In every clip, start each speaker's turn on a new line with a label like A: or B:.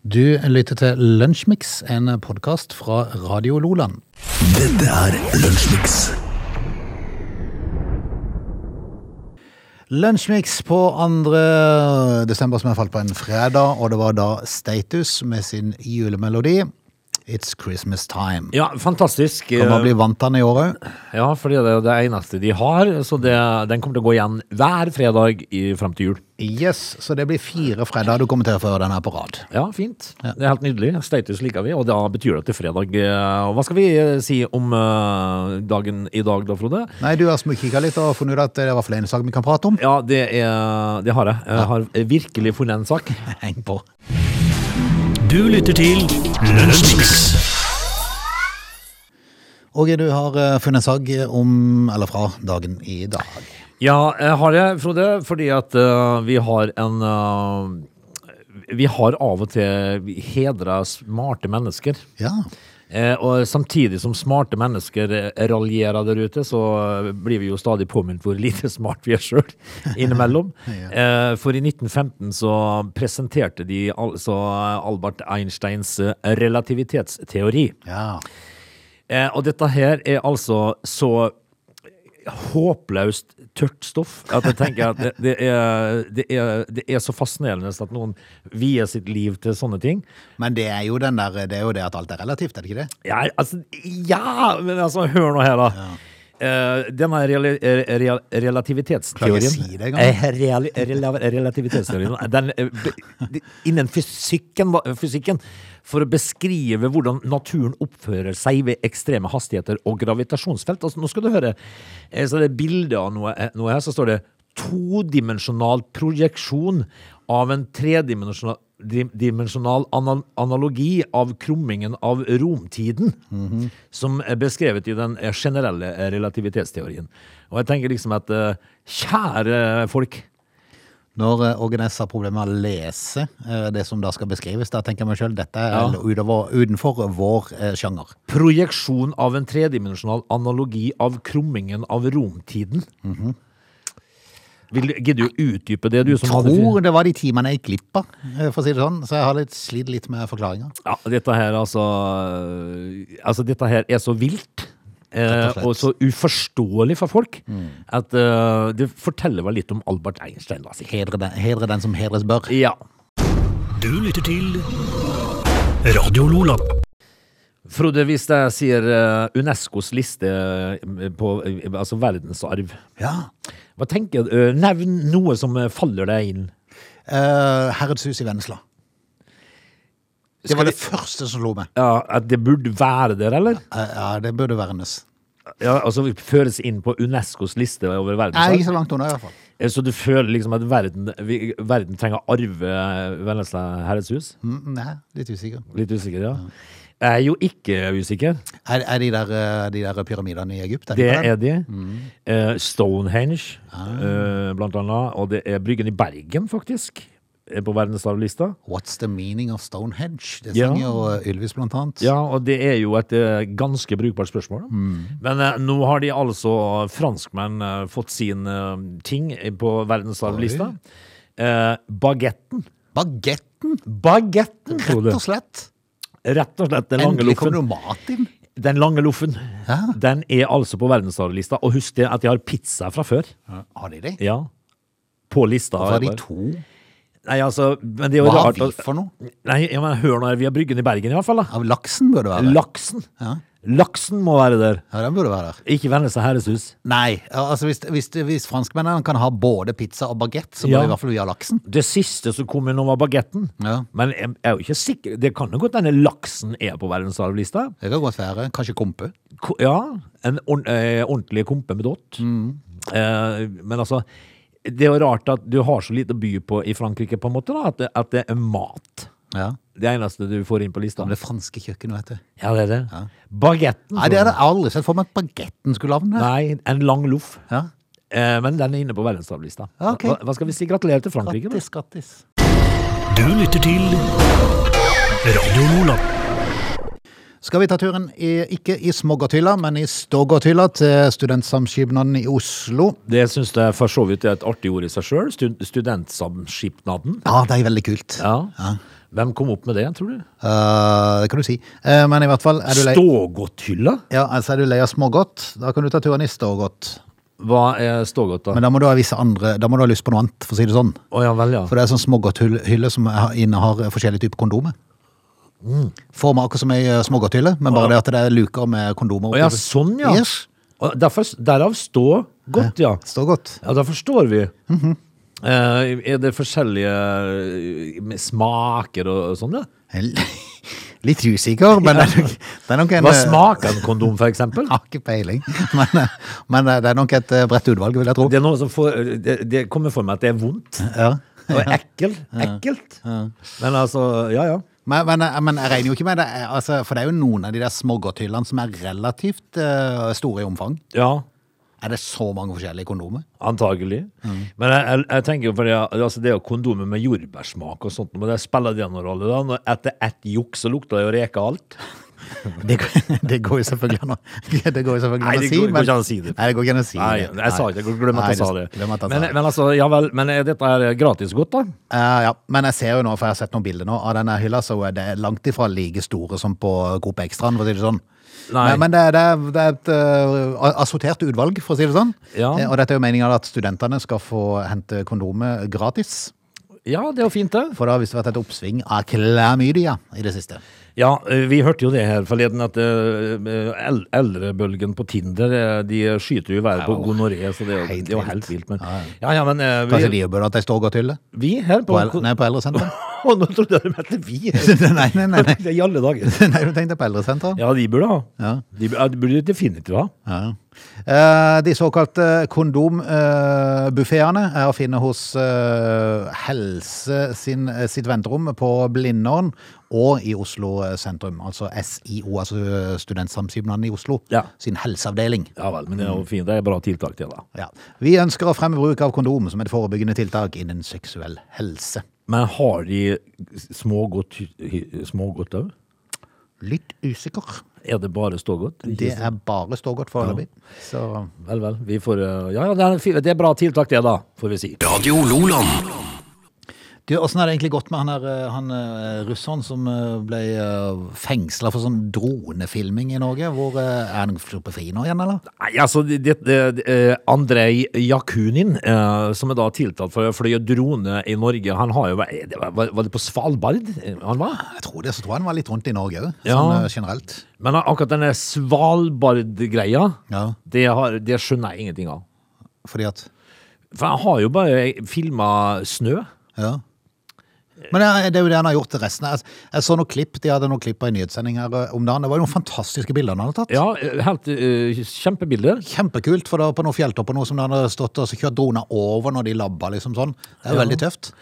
A: Du lytter til Lunsjmix, en podkast fra Radio Loland.
B: Dette er Lunsjmix.
A: Lunsjmix på 2. desember, som jeg falt på en fredag, og det var da Status med sin julemelodi. It's Christmas time.
C: Ja, fantastisk.
A: Kan man bli vant til den i år òg?
C: Ja, fordi det er det eneste de har, så det, den kommer til å gå igjen hver fredag i, frem til jul.
A: Yes, så det blir fire fredager du kommer til å få høre den her på rad.
C: Ja, fint. Det er helt nydelig. Status liker vi, og da betyr det til fredag. Eh, Og hva skal vi eh, si om eh, dagen i dag da, Frode?
A: Nei, du har smugkikka litt og funnet ut at det er i hvert fall en sak vi kan prate om.
C: Ja, det, er, det har jeg. Jeg har virkelig funnet en sak.
A: Heng på.
B: Du lytter til Lunsjmix.
A: Og du har eh, funnet en sak om, eller fra, dagen i dag.
C: Ja, jeg har det, Frode, fordi at eh, vi har en eh, Vi har av og til hedra smarte mennesker.
A: Ja.
C: Eh, og samtidig som smarte mennesker eh, raljerer der ute, så eh, blir vi jo stadig påminnet hvor lite smart vi er sjøl innimellom. eh, for i 1915 så presenterte de altså Albert Einsteins eh, relativitetsteori.
A: ja.
C: Eh, og dette her er altså så håpløst tørt stoff at jeg tenker at det, det, er, det, er, det er så fascinerende at noen vier sitt liv til sånne ting.
A: Men det er jo den der, det er jo det at alt er relativt, er det ikke det?
C: Ja, altså, ja, men altså, hør nå her, da. Eh, denne reali eh, real relativitetsteorien
A: Klarer jeg å si det engang?
C: Eh, reali rela- Relativitetsteorien den, eh, be- de- Innen fysikken, da- fysikken For å beskrive hvordan naturen oppfører seg Ved ekstreme hastigheter og gravitasjonsfelt altså, Nå skal du høre eh, Så det er bildet av noe, eh, noe her Så står det todimensjonal projeksjon Av en tredimensional dim- dimensjonal anal analogi av krummingen av romtiden, som er beskrevet i den eh, generelle eh, relativitetsteorien. Og jeg tenker liksom at eh, kjære folk,
A: Når eh, Ågenes har problemer med å lese eh, det som da skal beskrives, da tenker jeg meg sjøl dette er
C: Ja.
A: l- utover, utenfor vår eh, sjanger.
C: projeksjon av en tredimensjonal analogi av krummingen av romtiden.
A: Mhm.
C: Vil du- Gidder du å utdype det, du som
A: Tror det var de timene jeg klippa, eh, for å si det sånn, så jeg har litt slitt litt med forklaringa.
C: Ja, dette her altså Altså, dette her er så vilt.
A: Rett og
C: Eh,
A: slett. Mm.
C: og så uforståelig for folk. At eh, Det forteller vel litt om Albert Einstein, da. si.
A: Hedre, den- hedre den som hedres bør.
C: Ja.
B: Du lytter til Radio Lola.
C: Frode, hvis jeg sier eh, Unescos liste eh, på eh, altså verdensarv,
A: Ja.
C: hva tenker du? Eh, Nevn noe som eh, faller deg inn.
A: Uh, Herredshus i Vennesla. Det
C: Skal
A: var
C: vi-
A: det første som slo meg.
C: Ja, At det burde være der, eller?
A: Eh, ja, det burde vernes.
C: Ja, altså Føres inn på Unescos liste over
A: Nei,
C: verdensarv?
A: ikke så langt unna, i hvert fall.
C: Eh, Så du føler liksom at verden, vi, verden trenger å arve Vennesla herredshus?
A: Mm, Nei, litt usikker.
C: Litt usikker, ja. Jeg er jo ikke usikker.
A: Er, er de, der, eh, de der pyramidene i Egypt?
C: Det
A: ikke
C: er de. Eh, Stonehenge, eh, blant annet. Og det er Bryggen i Bergen, faktisk. eh, På verdensarvlista.
A: What's the meaning of Stonehenge? Det
C: Ja.
A: synger jo eh, Ylvis blant annet.
C: Ja, og det er jo et eh, ganske brukbart spørsmål. da. Men eh, nå har de altså, franskmenn, eh, fått sin eh, ting på verdensarvlista. Eh, bagetten.
A: Bagetten,
C: Bagetten,
A: rett
C: tror du.
A: og slett.
C: Rett og slett. Den lange
A: Endelig kom det
C: loffen.
A: noe mat inn.
C: Den lange loffen.
A: Hæ?
C: Den er altså på verdensarvlista. Og husk det at de har pizza fra før.
A: Har de det?
C: Ja. På lista.
A: Hva er de
C: jeg bare-
A: to?
C: Nei, altså, men det er jo
A: Hva har
C: rart altså.
A: vi
C: at-
A: for noe?
C: Nei, ja, men hør nå her. Vi har Bryggen i Bergen i hvert fall. da.
A: Ja, laksen burde være der.
C: Laksen.
A: Ja.
C: Laksen må være der.
A: Ja, den burde være der.
C: Ikke Vennesla herreshus.
A: Nei, ja, altså hvis, hvis, hvis franskmennene kan ha både pizza og bagett, så bør
C: Ja.
A: i hvert fall vi ha laksen.
C: Det siste som kom innom, var bagetten.
A: Ja.
C: Men jeg jeg er jo ikke sikker Det kan jo godt hende laksen er på verdensarvlista.
A: Det kan godt være. Kanskje kompe.
C: Ko- Ja. En ord- eh, ordentlig kompe med dott.
A: Mm.
C: Eh, men altså Det er jo rart at du har så lite å by på i Frankrike, på en måte, da, at det, at det er mat.
A: Ja.
C: Det eneste du får inn på lista.
A: Men Det franske kjøkkenet, vet du.
C: Ja, det er det. Bagetten.
A: Nei, det hadde jeg aldri sett for meg at bagetten skulle havne der.
C: Nei, en lang loff.
A: Ja.
C: Eh, men den er inne på verdensarvlista.
A: Ja, Ah, ok.
C: Hva, hva skal vi si? Gratulerer til Frankrike. da.
A: Grattis, grattis.
B: Du lytter til Radio Lola.
A: Skal vi ta turen i, ikke i Smågårdhylla, men i Stågårdhylla til Studentsamskipnaden i Oslo.
C: Det syns jeg for så vidt er et artig ord i seg sjøl. Stud studentsamskipnaden.
A: Ja, det er veldig kult.
C: Ja. Hvem kom opp med det, tror du?
A: Eh, det kan du si. Eh, men i hvert fall, er du lei,
C: Stågotthylla?
A: ja, altså er du lei av smågodt, da kan du ta turen i stågodt.
C: Hva er stågott, da?
A: Men da må du ha visse andre, da må du ha lyst på noe annet, for å si det sånn.
C: Å ja vel, ja.
A: For det er sånn smågodthylle som er- innehar forskjellige typer kondomer. Forma akkurat som ei eh, smågodthylle, men bare det at det er luker med kondomer.
C: Å ja, sånn, ja.
A: Yes.
C: Og Derfor, derav stågott, ja.
A: Står godt.
C: Ja, da forstår vi.
A: Mhm.
C: Eh, er det forskjellige eh, med smaker og og sånn, ja?
A: Litt usikker, men det er nok, det er nok en
C: Hva
A: eh,
C: smaker en kondom, for eksempel?
A: Har ikke peiling. Men, eh, men eh, det er nok et eh, bredt utvalg, vil jeg tro.
C: Det, er noe som får, det, det kommer for meg at det er vondt
A: Ja.
C: og ekkel, ekkelt. Men altså, ja ja.
A: Men, men, eh, men jeg regner jo ikke med det, eh, altså, for det er jo noen av de der smågodthyllene som er relativt eh, store i omfang.
C: Ja,
A: Er det så mange forskjellige kondomer?
C: antagelig. Men jeg, jeg, jeg tenker jo, for det, altså det er jo kondomer med jordbærsmak og sånt, men det spiller det noen rolle da? Når etter ett juk så lukter det jo reke alt.
A: Det, går- det går jo selvfølgelig an å det går jo selvfølgelig
C: Nei,
A: an å
C: det
A: si.
C: går- går
A: men-
C: ikke an å si det.
A: Nei, det går ikke an å si
C: Nei,
A: det.
C: jeg sa ikke det. Glem at jeg sa det.
A: Glem at jeg
C: men,
A: sa det.
C: men altså, ja vel, men er dette her gratis godt, da?
A: Eh, ja, men jeg ser jo nå, for jeg har sett noen bilder nå av denne hylla, så er det langt ifra like store som på Coop Extraen, for å si det sånn.
C: Nei.
A: Men, men det, er- det, er- det er et eh, assortert utvalg, for å si det sånn.
C: Ja.
A: Eh, og dette er jo meninga at studentene skal få hente kondomet gratis.
C: Ja, det er jo fint, det.
A: For det har visst vært et oppsving av klamydia i det siste.
C: Ja, eh, vi hørte jo det her forleden, at eh, el- eldrebølgen på Tinder, eh, de skyter jo i været på
A: Au.
C: gonoré, så det er jo
A: Helt
C: helt, det er jo
A: vilt.
C: helt vilt. Men,
A: Ja, ja.
C: ja, ja, men eh,
A: Kanskje
C: vi,
A: de burde at de står godt hylle?
C: vi her
A: På,
C: på,
A: el- nei, på eldresenteret?
C: Å, nå trodde jeg du mente vi.
A: nei, nei, nei. nei.
C: I alle dager.
A: nei, du tenkte på eldresenteret?
C: Ja, de burde ha.
A: Ja.
C: De, bur- ja, de burde definitivt ha.
A: Ja. Eh, De såkalte kondombuffeene er å finne hos eh, Helse sin, eh, sitt venterom på Blindern og i Oslo sentrum. Altså SIO, altså eh, Studentsamskipnaden i Oslo,
C: Ja.
A: sin helseavdeling.
C: Ja vel, men det er jo fint. Det er bra tiltak, det, da.
A: Ja. Vi ønsker å fremme bruk av kondom som et forebyggende tiltak innen seksuell helse.
C: Men har de smågodt hy- smågodt òg?
A: Litt usikker.
C: Er det bare stågodt? Ikke
A: Det er bare stågodt foreløpig. Så
C: Vel, vel. Vi får eh, Ja, ja, det er, fi- det er bra tiltak, det, da, får vi si.
B: Radio Loland.
A: Du, Åssen har det egentlig gått med han, her, eh, han eh, russeren som eh, ble fengsla for sånn dronefilming i Norge? Hvor, eh, er han sluppet fri nå igjen, eller?
C: Nei, altså, det, det, det, eh, Andrej Jakunin, eh, som er da tiltalt for å fløye drone i Norge, han har jo vært- det var, var det på Svalbard han var?
A: Jeg tror det, så tror jeg han var litt rundt i Norge òg,
C: Ja.
A: sånn eh, generelt.
C: Men akkurat denne Svalbard-greia,
A: Ja.
C: det, har- det skjønner jeg ingenting av.
A: Fordi at
C: For jeg har jo bare filma snø.
A: Ja. Men det er- det er jo det han har gjort til resten. Jeg, jeg så noen klipp, De hadde noen klipp på en nyhetssending her eh, om dagen. Det var jo noen fantastiske bilder han hadde tatt.
C: Ja, eh, helt eh, kjempebilder.
A: Kjempekult, for det var på noen fjelltopper nå som de hadde stått og så kjørt droner over når de labba, liksom sånn. Det er jo veldig tøft.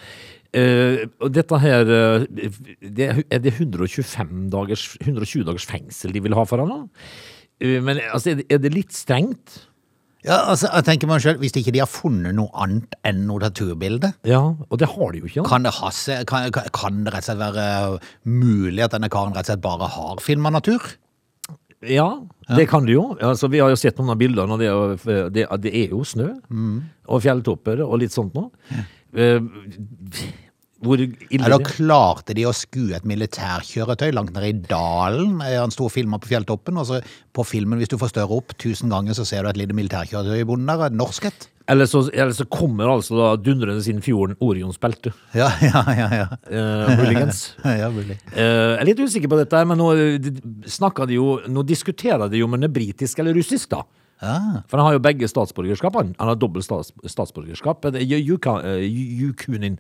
C: Eh, og dette her eh, det, er- Er det 125 dagers, 120 dagers fengsel de vil ha for han? da? Eh, men altså, er, det, er det litt strengt?
A: Ja, altså, jeg tenker meg selv, Hvis ikke de har funnet noe annet enn noe naturbilde
C: Ja, og det har de jo ikke. da.
A: Kan det, ha seg- kan, kan- kan det rett og slett være mulig at denne karen rett og slett bare har filma natur?
C: Ja, det kan de jo. Altså, vi har jo sett noen av bildene, og det er, jo- det, det er jo snø. Og fjelltopper og litt sånt noe. Eh, hvor ille
A: Eller
C: det
A: klarte de å skue et militærkjøretøy langt ned i dalen? Eh, Han sto og filma på fjelltoppen, og så på filmen, hvis du forstørrer opp tusen ganger, så ser du et lite militærkjøretøy i bunnen der. et Norsk et.
C: eller så, eller så kommer altså da dundrende inn fjorden Orionsbeltet,
A: Ja, ja, ja. ja.
C: eh, muligens.
A: ja mulig.
C: Eh, jeg er litt usikker på dette, her, men nå, eh, de- snakker de jo, nå diskuterer de jo om han er britisk eller russisk, da.
A: Ah.
C: For han har jo begge statsborgerskap. Han, han har dobbelt stats, statsborgerskap. Det er Yu- Yuka- eh, Yu- Yukunin.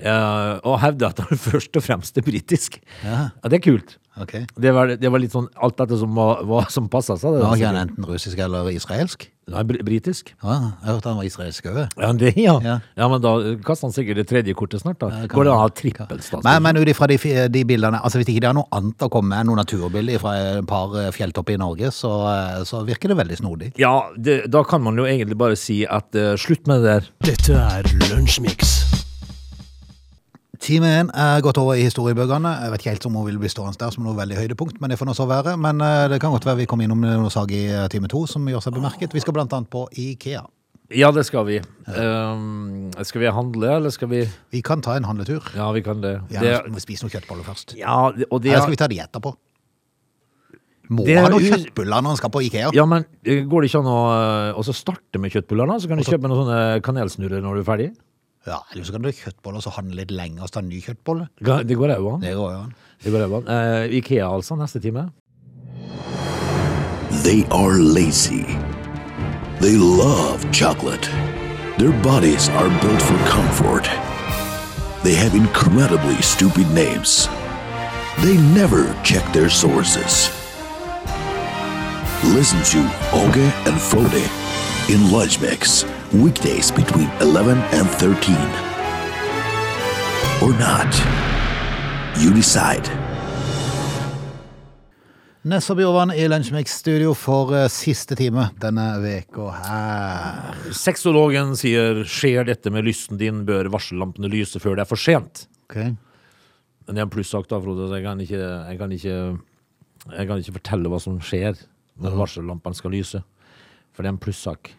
C: eh, og hevder at han først og fremst er britisk. Ja. det er kult.
A: Ok.
C: Det var, det var litt sånn alt dette som, var, var, som passa seg. det
A: Var
C: da.
A: ikke han enten russisk eller israelsk?
C: Nei, br- britisk.
A: Ja, jeg hørte han var israelsk òg.
C: Ja, det, ja.
A: Ja.
C: Ja. men da kaster han sikkert det tredje kortet snart, da. Går det an å ha trippel
A: Men,
C: statsborgerskap?
A: men ut ifra de, fi- de bildene Altså Hvis ikke de har noe annet å komme med enn noen naturbilder fra et par eh, fjelltopper i Norge, så, eh, så virker det veldig snodig.
C: Ja, det, da kan man jo egentlig bare si at eh, slutt med det der.
B: Dette er Lunsjmix.
A: Time én er gått over i historiebøkene. Jeg vet ikke helt om hun vil bli stående der som noe veldig høydepunkt, men det får nå så være. Men eh, det kan godt være vi kommer innom noe sag i eh, time to som gjør seg bemerket. Vi skal blant annet på Ikea.
C: Ja, det skal vi. Um, skal vi handle, eller skal vi
A: Vi kan ta en handletur.
C: Ja, vi kan det.
A: Ja,
C: det
A: vi må spise noen kjøttboller først.
C: ja, og det
A: Eller skal vi ta de etterpå? Må
C: Det er
A: ha noen
C: jo-
A: kjøttboller når en skal på Ikea.
C: ja, men eh, går det ikke an å eh, også starte med kjøttbuller, da? Så kan du kjøpe noen sånne kanelsnurrer når du er ferdig?
A: Ja, Eller så kan du ha kjøttboller og så handle litt lenger og så ta en ny kjøttbolle.
C: Ga- Det går òg an.
A: Det går jo an.
C: Det går også an. Eh, Ikea, altså, neste time.
B: They are lazy. They love chocolate. Their bodies are built for comfort. They have incredibly stupid names. They never check their sources. Listen to Oge and Frode in Lunch Mix, weekdays between 11 and 13. Or not. You decide.
A: Nessa Bjørvann i Lunsjmix studio for eh, siste time denne veka her.
C: Sexologen sier 'skjer dette med lysten din, bør varsellampene lyse før det er for sent'.
A: Ok.
C: Men det er en plussak, da, Frode, så jeg kan ikke, jeg kan ikke, jeg kan ikke fortelle hva som skjer når
A: Mhm.
C: varsellampene skal lyse. For det er en plussak.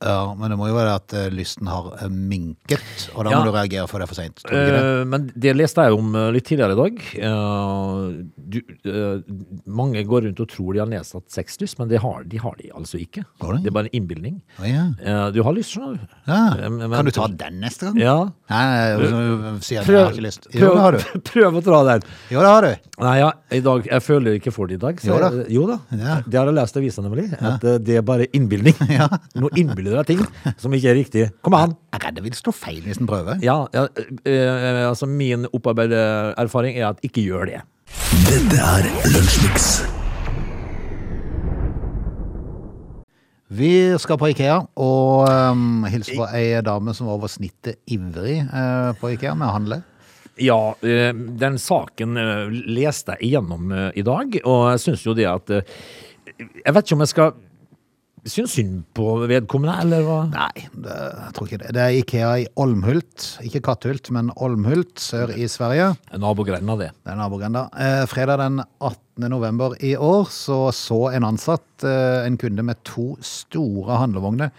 A: Ja, Men det må jo være at eh, lysten har eh, minket, og da
C: Ja.
A: må du reagere før det er for seint.
C: Eh, men det leste jeg om eh, litt tidligere i dag. Eh, du, eh, mange går rundt og tror de har nedsatt sexlyst, men det har, de har de altså ikke.
A: Har de?
C: Det er bare en innbilning.
A: Å, ja.
C: Eh, du har lyst, skjønner du.
A: Ja.
C: Eh, men-
A: Kan du ta den neste gang?
C: Ja.
A: Nei, nei, altså, du sier at jeg har ikke lyst. Jo, det har du.
C: prøv å dra den.
A: Jo, det har du.
C: Nei, ja, i dag, jeg føler ikke for det i dag. så-
A: Jo da.
C: Jo da.
A: Ja.
C: Det har jeg lest i avisa, nemlig. At eh, det er bare innbilning. Nå innbiller deg ting som ikke er riktig. Kom an!
A: Jeg er redd det vil stå feil hvis den prøver.
C: Ja, ja, eh, eh, altså min opparbeidede erfaring er at ikke gjør det.
B: Dette er Lunsjmix.
A: Vi skal på Ikea og um, hilse på ei dame som var over snittet ivrig eh, på Ikea med å handle.
C: Ja, eh, den saken eh, leste jeg igjennom eh, i dag, og jeg syns jo det at eh, Jeg vet ikke om jeg skal synes synd på vedkommende, eller hva?
A: Nei, det, jeg tror ikke det. Det er Ikea i Olmhult. Ikke Katthult, men Olmhult sør i Sverige.
C: Nabogreina, det.
A: Det er nabogrenda. Eh, fredag den 18. november i år så, så en ansatt eh, en kunde med to store handlevogner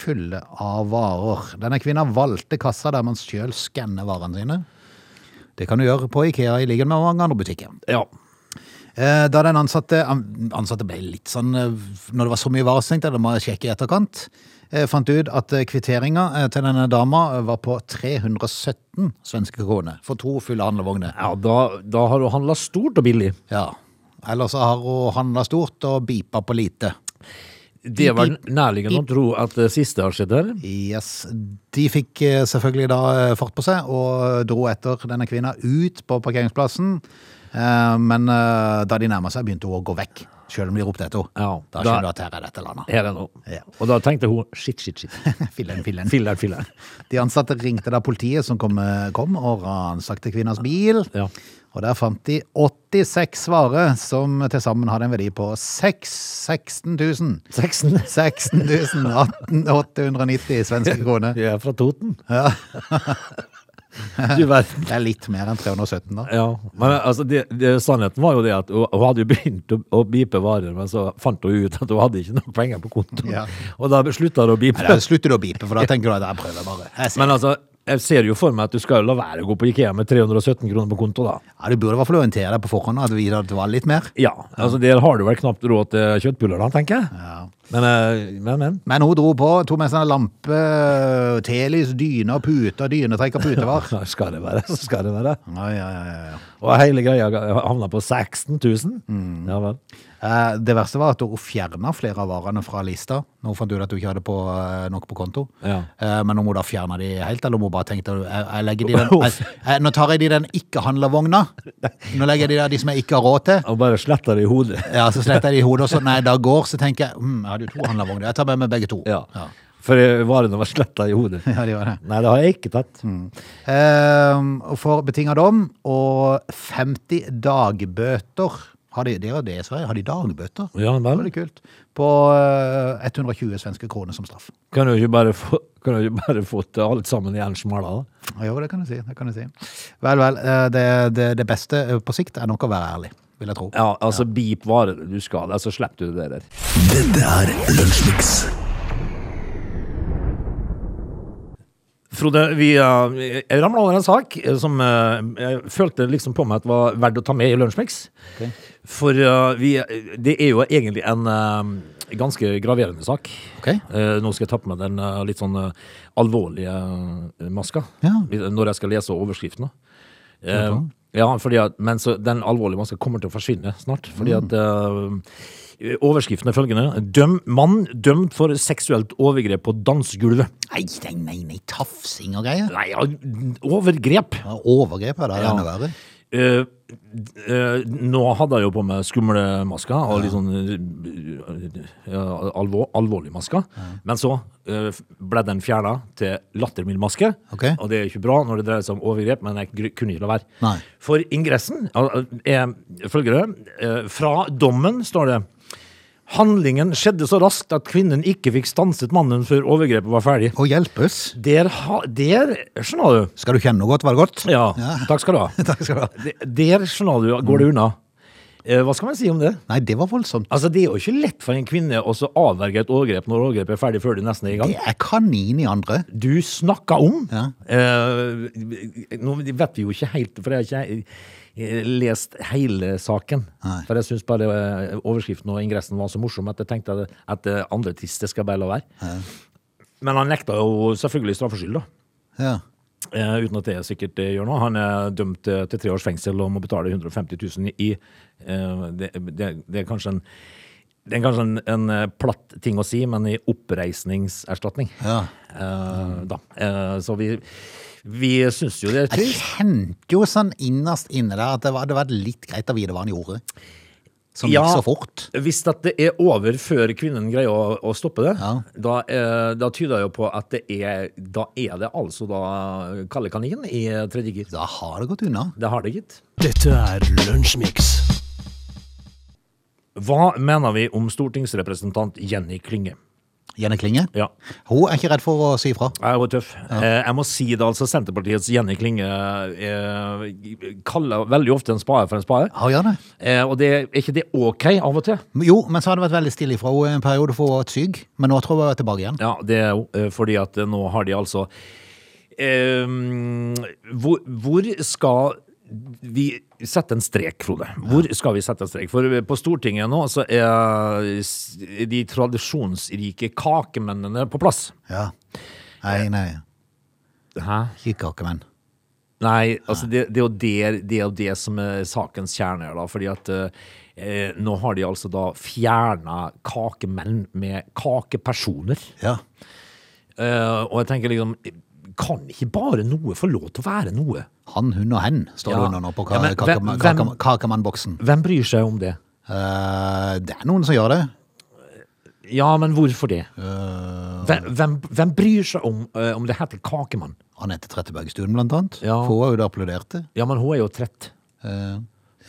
A: fulle av varer. Denne kvinna valgte kassa der man sjøl skanner varene sine. Det kan du gjøre på Ikea i likhet med mange andre butikker.
C: Ja.
A: Eh, Da den ansatte, an- ansatte ble litt sånn eh, Når det var så mye varer, så tenkte jeg det må jeg sjekke i etterkant. Eh, Fant ut at eh, kvitteringa eh, til denne dama eh, var på 317 svenske kroner for to fulle handlevogner.
C: ja da, da har du handla stort og billig.
A: Ja. Eller så har hun handla stort og bipa på lite.
C: Det er vel nærliggende å tro at det siste har skjedd her.
A: Yes. De fikk eh, selvfølgelig da eh, fart på seg og dro etter denne kvinna ut på parkeringsplassen. Eh, Men eh, da de nærma seg, begynte hun å gå vekk. Sjøl om de ropte etter henne.
C: Ja,
A: da
C: da-
A: skjønner du at her er dette landet.
C: Her er nå.
A: Ja.
C: Og da tenkte hun shit, shit, shit.
A: Fillen, fillen.
C: Filler'n, filler'n.
A: De ansatte ringte da politiet som kom, kom og ransakte kvinnas bil.
C: Ja.
A: Og der fant de 86 varer som til sammen hadde en verdi på 6, 16 000.
C: Sexen.
A: 16 000, 890 svenske kroner.
C: Jeg er fra Toten. Du verden.
A: Det er litt mer enn 317 da.
C: Ja, men altså, det, det, sannheten var jo det at hun, hun hadde jo begynt å, å bipe varer, men så fant hun ut at hun hadde ikke nok penger på kontoen.
A: Ja.
C: Og da slutta hun å
A: Nei,
C: bipe.
A: da slutter du å bipe, for da tenker du at jeg prøver bare. Jeg ser.
C: Men altså, jeg ser jo for meg at du skal jo la være å gå på Ikea med 317 kroner på konto, da.
A: Ja, du burde i hvert fall orientere deg på forhånd at vi- at det var litt mer.
C: Ja, altså der har du vel knapt råd til kjøttbuller, da, tenker jeg.
A: Ja.
C: Men, eh, men, men.
A: Men hun dro på, tok med seg en lampe, telys, dyne og pute, dynetrekk og putevar.
C: Ja, Skal det være, så skal det være.
A: Ja, ja, ja, ja.
C: Og hele greia havna på 16 000. Ja vel.
A: Eh, Det verste var at hun fjerna flere av varene fra lista. Nå fant du ut at hun ikke hadde på, eh, nok på konto.
C: Ja.
A: Eh, Men om hun da fjerna de helt, eller om hun bare tenkte jeg, jeg legger de den, jeg, jeg, Nå tar jeg de den ikke-handlevogna. Nå legger jeg de der de som jeg ikke har råd til.
C: Og bare sletta det i hodet.
A: Ja, Så sletter jeg de i hodet, og så nei, da går, så tenker jeg hm, jeg hadde jo to handlevogner. Jeg tar med meg begge to.
C: Ja.
A: Ja.
C: For eh, varene var sletta i hodet.
A: Ja, de var det.
C: Nei, det har jeg ikke tatt.
A: Mm. Eh, og får betinga dom og 50 dagbøter. Har de det, er jo det i Sverige? Har de dagbøter?
C: Ja
A: Det
C: vel.
A: var litt kult. På eh, 120 svenske kroner som straff.
C: Kan du ikke bare få, kan du ikke bare få til alt sammen i en smala, da?
A: Ja, Jo, det kan du si. Det kan du si. Vel, vel. eh, Det, det, det beste eh, på sikt er nok å være ærlig, vil jeg tro.
C: Ja, altså bip varer du skal, altså slipper du det der.
B: Dette er Lunsjmix.
C: Frode, vi eh, jeg ramla over en sak eh, som eh, jeg følte liksom på meg at var verdt å ta med i Lunsjmix. For eh, vi, det er jo egentlig en eh, ganske graverende sak.
A: Ok.
C: Eh, nå skal jeg ta på meg den eh, litt sånn eh, alvorlige eh, maska
A: Ja.
C: Vi- når jeg skal lese overskriftene. Eh, ja, fordi at, men så, den alvorlige maska kommer til å forsvinne snart. Fordi at eh, Overskriften er følgende. Døm, mann dømt for seksuelt overgrep på dansegulvet.
A: Nei, nei, nei, nei, tafsing og greier.
C: Nei, ja, overgrep.
A: Ja, Overgrep er det
C: Ja.
A: enda verre.
C: Eh, eh, nå hadde jeg jo på meg skumle masker og litt sånn eh, ja, alvor, alvorlig masker. Men så eh, f- ble den fjerna til lattermild maske.
A: Ok.
C: Og det er ikke bra når det dreier seg om overgrep, men jeg gr- kunne ikke la være.
A: Nei.
C: For ingressen al- er følgende. eh, fra dommen står det Handlingen skjedde så raskt at kvinnen ikke fikk stanset mannen før overgrepet var ferdig.
A: Og hjelpes.
C: Der, ha, der skjønner du.
A: Skal du kjenne noe godt, var det godt?
C: Ja, takk skal du ha.
A: Takk skal du ha.
C: Det- Der skjønner du, går det unna. Eh, Hva skal man si om det?
A: Nei, det var voldsomt.
C: Altså, Det er jo ikke lett for en kvinne å så avverge et overgrep når overgrepet er ferdig før det nesten er i gang.
A: Det er kanin i andre.
C: Du snakka om
A: Ja.
C: eh, Nå vet vi jo ikke helt, for jeg har ikke eh, lest hele saken.
A: Nei.
C: For jeg syns bare eh, overskriften og ingressen var så morsom at jeg tenkte at, at eh, andre tiss, det skal jeg bare la være. Men han nekta jo selvfølgelig straffskyld, da.
A: Ja.
C: Eh, uten at det sikkert eh, gjør noe. Han er dømt eh, til tre års fengsel og må betale 150 000 i eh, det, det, det er kanskje en det er kanskje en, en eh, platt ting å si, men i oppreisningserstatning.
A: Ja. Mm.
C: Eh, da. Eh, så vi, vi syns jo det er
A: Jeg
C: trist.
A: kjente jo sånn innerst inne der at det var- det hadde vært litt greit å vite hva han gjorde. Som
C: Ja.
A: gikk så fort.
C: Hvis at det er over før kvinnen greier å, å stoppe det,
A: Ja.
C: da, eh, da tyder det jo på at det er, da er det altså da kalde kaninen i tredje gir.
A: Da har det gått unna.
C: Det har det, gitt.
D: Dette er Lunsjmix.
C: Hva mener vi om stortingsrepresentant Jenny Klinge?
A: Jenny Klinge.
C: Ja,
A: Hun er ikke redd for å si ifra.
C: jeg er jo tøff. Eh, Jeg må si det, altså. Senterpartiets Jenny Klinge eh, kaller veldig ofte en spade for en spade.
A: Ja, hun gjør det.
C: Eh, Og det, er ikke det OK av og til?
A: Jo, men så har det vært veldig stille ifra henne en periode for hun var syk. Men nå tror jeg hun er tilbake igjen.
C: Ja, det er jo eh, fordi at eh, nå har de altså eh, hvor, hvor skal vi sette en strek, Frode? Hvor skal vi sette en strek? For eh, på Stortinget nå så er eh, s- de tradisjonsrike kakemennene på plass.
A: Ja. Nei, nei.
C: Hæ?
A: Ikke kakemenn.
C: Nei, altså det, det, er jo der, det er jo det som er sakens kjerne her, da. Fordi at eh, nå har de altså da fjerna kakemenn med kakepersoner.
A: Ja.
C: Eh, og jeg tenker liksom Kan ikke bare noe få lov til å være noe?
A: Han, hun og hen står det
C: Ja.
A: under nå på ka
C: Ja, men
A: kakema-
C: hvem-
A: kakema- kakemannboksen.
C: Hvem bryr seg om det?
A: Eh, det er noen som gjør det.
C: Ja, men hvorfor det?
A: Eh,
C: Hvem, hvem, hvem bryr seg om eh, om det heter kakemann?
A: Anette Trettebergstuen, blant annet.
C: Ja.
A: For hun har jo det applauderte.
C: Ja, men hun er jo trett
A: Eh,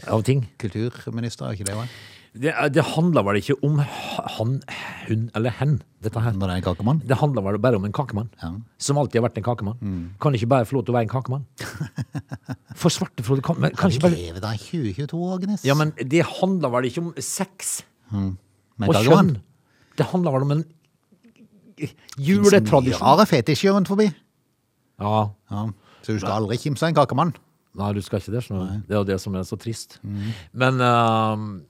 C: av ting.
A: kulturminister, er ikke det? hva?
C: Det, det handler vel ikke om han, hun eller hen, dette her.
A: Når det er en kakemann.
C: Det handler vel bare om en kakemann. Som alltid har vært en kakemann.
A: Mm.
C: Kan ikke bare få lov til å være en kakemann. For svarte Frode kan, men, kan ikke bare
A: Leve deg 2022, Agnes.
C: Ja, men det handler vel ikke om sex
A: Men
C: og
A: kakemann?
C: kjønn. Det handler vel om en
A: Vi
C: juletradisjon.
A: har en fetisj rundt forbi.
C: Ja.
A: Ja. Så du skal aldri kimse av en kakemann.
C: Nei, du skal ikke det. skjønner du. Det er jo det som er så trist.
A: Mm.
C: Men øhm,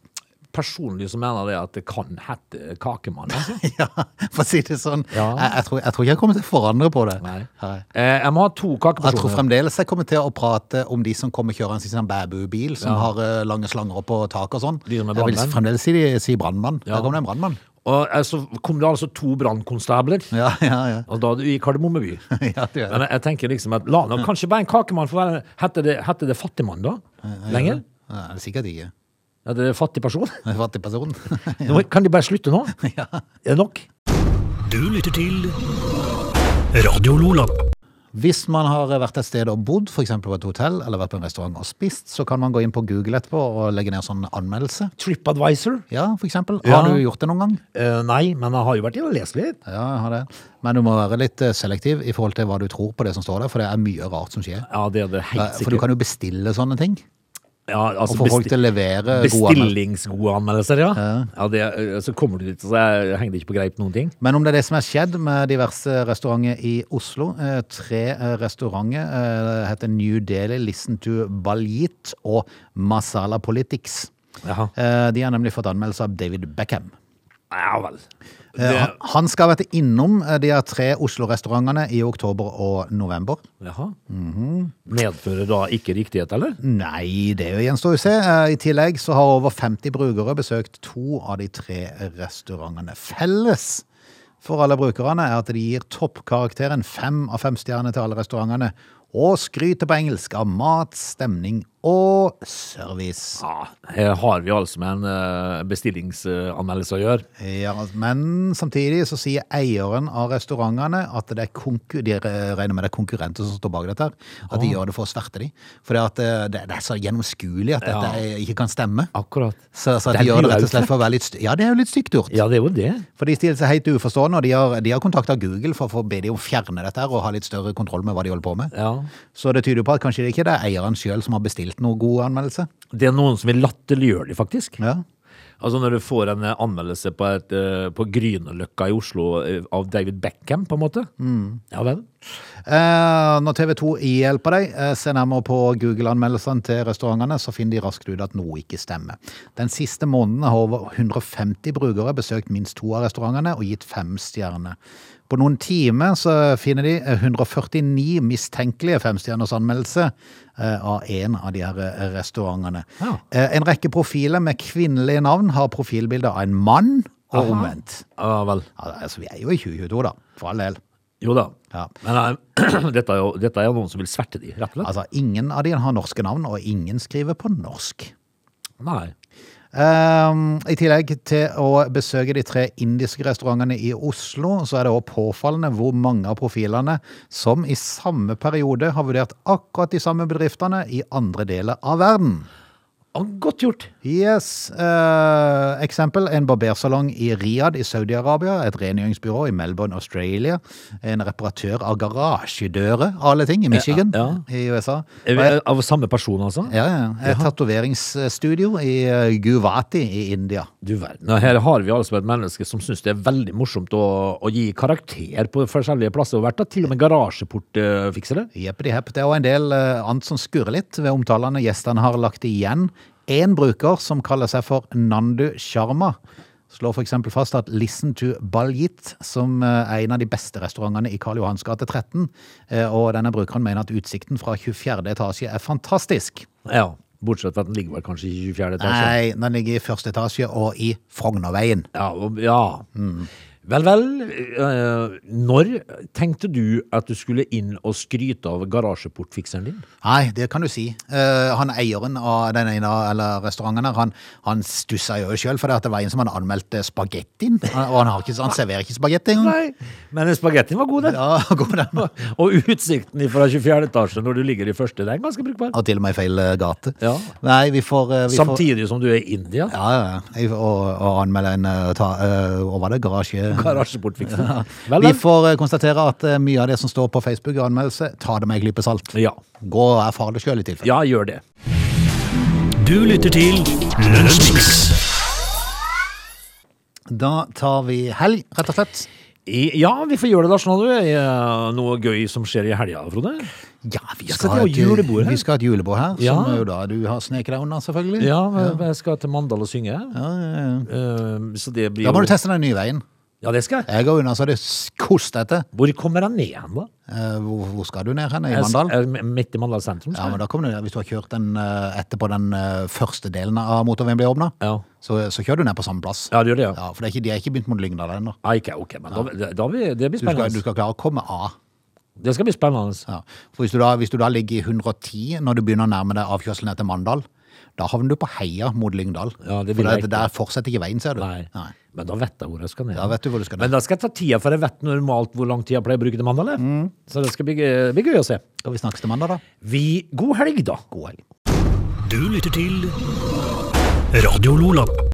C: personlig så mener jeg det at det kan hete kakemann. Altså.
A: ja, for å si det sånn.
C: Ja.
A: Jeg, jeg, tror, jeg tror ikke jeg kommer til å forandre på det.
C: Nei.
A: Nei.
C: Eh, jeg må ha to
A: Jeg tror
C: kakepersoner.
A: fremdeles jeg kommer til å prate om de som kommer kjørende i sin sånn bæbubil, som har eh, lange slanger opp på tak og sånn.
C: De som er
A: jeg vil
C: brandmenn.
A: fremdeles si, si brannmann.
C: Ja.
A: Der kom det en brannmann.
C: Og eh, så kom det altså to brannkonstabler.
A: Ja, ja, ja.
C: Og da er du i Kardemomme by.
A: Ja, det er det.
C: Men jeg, jeg tenker liksom at la nå kanskje bare en kakemann få være Heter det, heter det fattigmann, da? Lenger?
A: Ja, det er sikkert ikke.
C: Er det fattig person?
A: En fattig person.
C: Nå, kan de bare slutte nå? Er det nok?
D: Du lytter til Radio Lola.
A: Hvis man har vært et sted og bodd, f.eks. på et hotell eller vært på en restaurant og spist, så kan man gå inn på Google etterpå og legge ned sånn anmeldelse.
C: TripAdvisor?
A: Ja, f.eks.
C: Ja.
A: Har du gjort det noen gang?
C: Eh, nei, men jeg har jo vært inne og lest litt.
A: Ja, jeg har det. Men du må være litt eh, selektiv i forhold til hva du tror på det som står der, for det er mye rart som skjer.
C: Ja, det er det helt
A: Eh, For du
C: sikkert.
A: kan jo bestille sånne ting.
C: Ja, altså
A: Og få folk
C: besti-
A: til å levere gode anmeldelser.
C: Bestillingsgode anmeldelser, ja. ja det, eh, så kommer du dit, og så henger det ikke på greip noen ting.
A: Men om det er det som har skjedd med diverse restauranter i Oslo eh, Tre eh, restauranter eh, heter New Delhi, Listen to Baljit og Masala Politics.
C: Jaha.
A: Eh, de har nemlig fått anmeldelse av David Beckham.
C: Ja vel.
A: Eh,
C: Det,
A: han- Han skal ha vært innom eh, de her tre Oslo-restaurantene i oktober og november.
C: jaha.
A: Mhm.
C: Medfører da ikke riktighet, eller?
A: Nei, det gjenstår å se. Eh, I tillegg så har over 50 brukere besøkt to av de tre restaurantene. Felles for alle brukerne er at de gir toppkarakteren fem av fem stjerner til alle restaurantene, og skryter på engelsk av mat, stemning og service.
C: Ja, her har vi altså med en eh, bestillingsanmeldelse å gjøre.
A: Ja, men samtidig så sier eieren av restaurantene at det er konkur de regner med det er konkurrenter som står bak dette, her, at de gjør det for å sverte dem. For det, eh, det er så gjennomskuelig at dette ikke kan stemme.
C: Akkurat.
A: Så, så de
C: Det er
A: gjør det rett og
C: uautlet.
A: slett for å være litt st- Ja, det er jo litt stygt gjort.
C: Ja, det er jo det.
A: For de stiller seg helt uforstående, og de har, de har kontakta Google for å få- be de om å fjerne dette her og ha litt større kontroll med hva de holder på med.
C: Ja.
A: Så det tyder jo på at kanskje det ikke er det eieren sjøl som har bestilt noe god anmeldelse.
C: Det er noen som vil latterliggjøre det, faktisk.
A: Ja.
C: Altså Når du får en eh, anmeldelse på, et, eh, på Grünerløkka i Oslo eh, av David Beckham, på en måte. Ja vel.
A: Eh, når TV 2 hjelper deg, eh, se nærmere på Google-anmeldelsene til restaurantene, så finner de raskt ut at noe ikke stemmer. Den siste måneden har over 150 brukere besøkt minst to av restaurantene og gitt fem stjerner. På noen timer så finner de eh, 149 mistenkelige femstjerners anmeldelse eh, av en av de her eh, restaurantene.
C: Ja.
A: Eh, en rekke profiler med kvinnelige navn har profilbilder av en mann, og omvendt.
C: Ja vel.
A: Ja, altså, vi er jo i 2022, da. For all del.
C: Jo da.
A: Ja.
C: Men eh, dette, er jo, dette er jo noen som vil sverte de, rett og slett.
A: Altså, ingen av de har norske navn, og ingen skriver på norsk.
C: Nei.
A: Ehm, I tillegg til å besøke de tre indiske restaurantene i Oslo, så er det også påfallende hvor mange av profilene som i samme periode har vurdert akkurat de samme bedriftene i andre deler av verden.
C: Ja, godt gjort.
A: Yes. eh, eksempel en barbersalong i Riyadh i Saudi-Arabia, et rengjøringsbyrå i Melbourne, Australia, en reparatør av garasjedører, av alle ting, i Michigan
C: Ja,
A: i USA.
C: Er vi- eh, Av samme person, altså?
A: Ja, ja. Et tatoveringsstudio i eh, Guwahati i India.
C: Du verden. Og Her har vi altså et menneske som syns det er veldig morsomt å, å gi karakter på forskjellige plasser. Og vært da til og med garasjeport eh, fikser det.
A: Jeppedi hepp. Det er også en del eh, annet som skurrer litt ved omtalene gjestene har lagt igjen. Én bruker som kaller seg for Nandu Sharma. Slår f.eks. fast at Listen to Baljit, som eh, er en av de beste restaurantene i Karl Johans gate 13, eh, og denne brukeren mener at utsikten fra 24. etasje er fantastisk.
C: Ja, Bortsett fra at den ligger vel kanskje i 24. etasje.
A: Nei, den ligger i første etasje og i Frognerveien.
C: Ja, og- ja. Vel, vel. eh, Når tenkte du at du skulle inn og skryte av garasjeportfikseren din?
A: Nei, det kan du si. Eh, han eieren av den ene eller restauranten her, han, han stussa jo sjøl, for det at det var en som hadde anmeldt eh, spagettien. Han- Og han, har ikke, han serverer ikke spagetti engang.
C: Nei, men spagettien var god, den.
A: Ja, god den.
C: Og utsikten fra 24. etasje når du ligger i første, det er ganske brukbar.
A: Og til og med i feil eh, gate.
C: Ja.
A: Nei, vi får eh, vi får-
C: Samtidig som du er i
A: Ja,
C: India.
A: ja. ja. Jeg- Og, og anmelde en eh, ta, eh, Hva var det? Garasje...
C: Garasjeportfikseren. Vel,
A: Vi
C: vel.
A: får eh, konstatere at eh, mye av det som står på Facebook i anmeldelse, ta det med en klype salt.
C: Ja.
A: Gå og erfar det sjøl i tilfelle.
C: ja, gjør det.
D: Du lytter til Lunsjmix.
A: Da tar vi helg, rett og slett.
C: I, ja, vi får gjøre det da, skjønner du. Eh, Noe gøy som skjer i helga, Frode.
A: Ja, vi skal,
C: Ja, så det er
A: ha
C: jo julebord her.
A: vi skal ha et julebord her,
C: Ja.
A: som jo da du har sneket deg unna, selvfølgelig.
C: Ja, jeg skal til Mandal og synge. Eh, Så det blir
A: Da må
C: jo-
A: du teste den nye veien.
C: Ja, det skal jeg.
A: Jeg går unna så det s- kost etter.
C: Hvor kommer han ned hen, da?
A: Eh, Hvor, hvor skal du ned hen? I
C: Jeg-
A: Mandal?
C: jeg- Midt i Mandal sentrum?
A: Ja,
C: skal jeg.
A: men da kommer du ned. Hvis du har kjørt den eh, etterpå den eh, første delen av motorveien blir åpna,
C: Ja.
A: så, så kjører du ned på samme plass.
C: Ja, det gjør det, ja.
A: Ja, for det er ikke, de er ikke begynt mot Lyngdal ennå.
C: Ah, ikke, ok, men da, da blir, det blir
A: Du skal,
C: spennende.
A: du skal klare å komme av.
C: Det skal bli spennende.
A: Ja. For hvis du, da, hvis du da ligger i 110 når du begynner å nærme deg avkjørselen etter Mandal, da havner du på Heia mot Lyngdal.
C: Ja, det vil
A: for der,
C: jeg ikke.
A: der fortsetter ikke veien, ser du.
C: Nei. Men da vet jeg hvor jeg skal ned.
A: Da vet du hvor du skal ned.
C: Men da skal jeg ta tida, for jeg vet normalt hvor lang tid jeg pleier å bruke til Mandal. jeg.
A: Mm.
C: Så det skal bli, gøy- bli gøy å se.
A: Skal vi snakkes til mandag, da?
C: Vi, god helg, da.
A: God helg.
D: Du lytter til Radio Lola.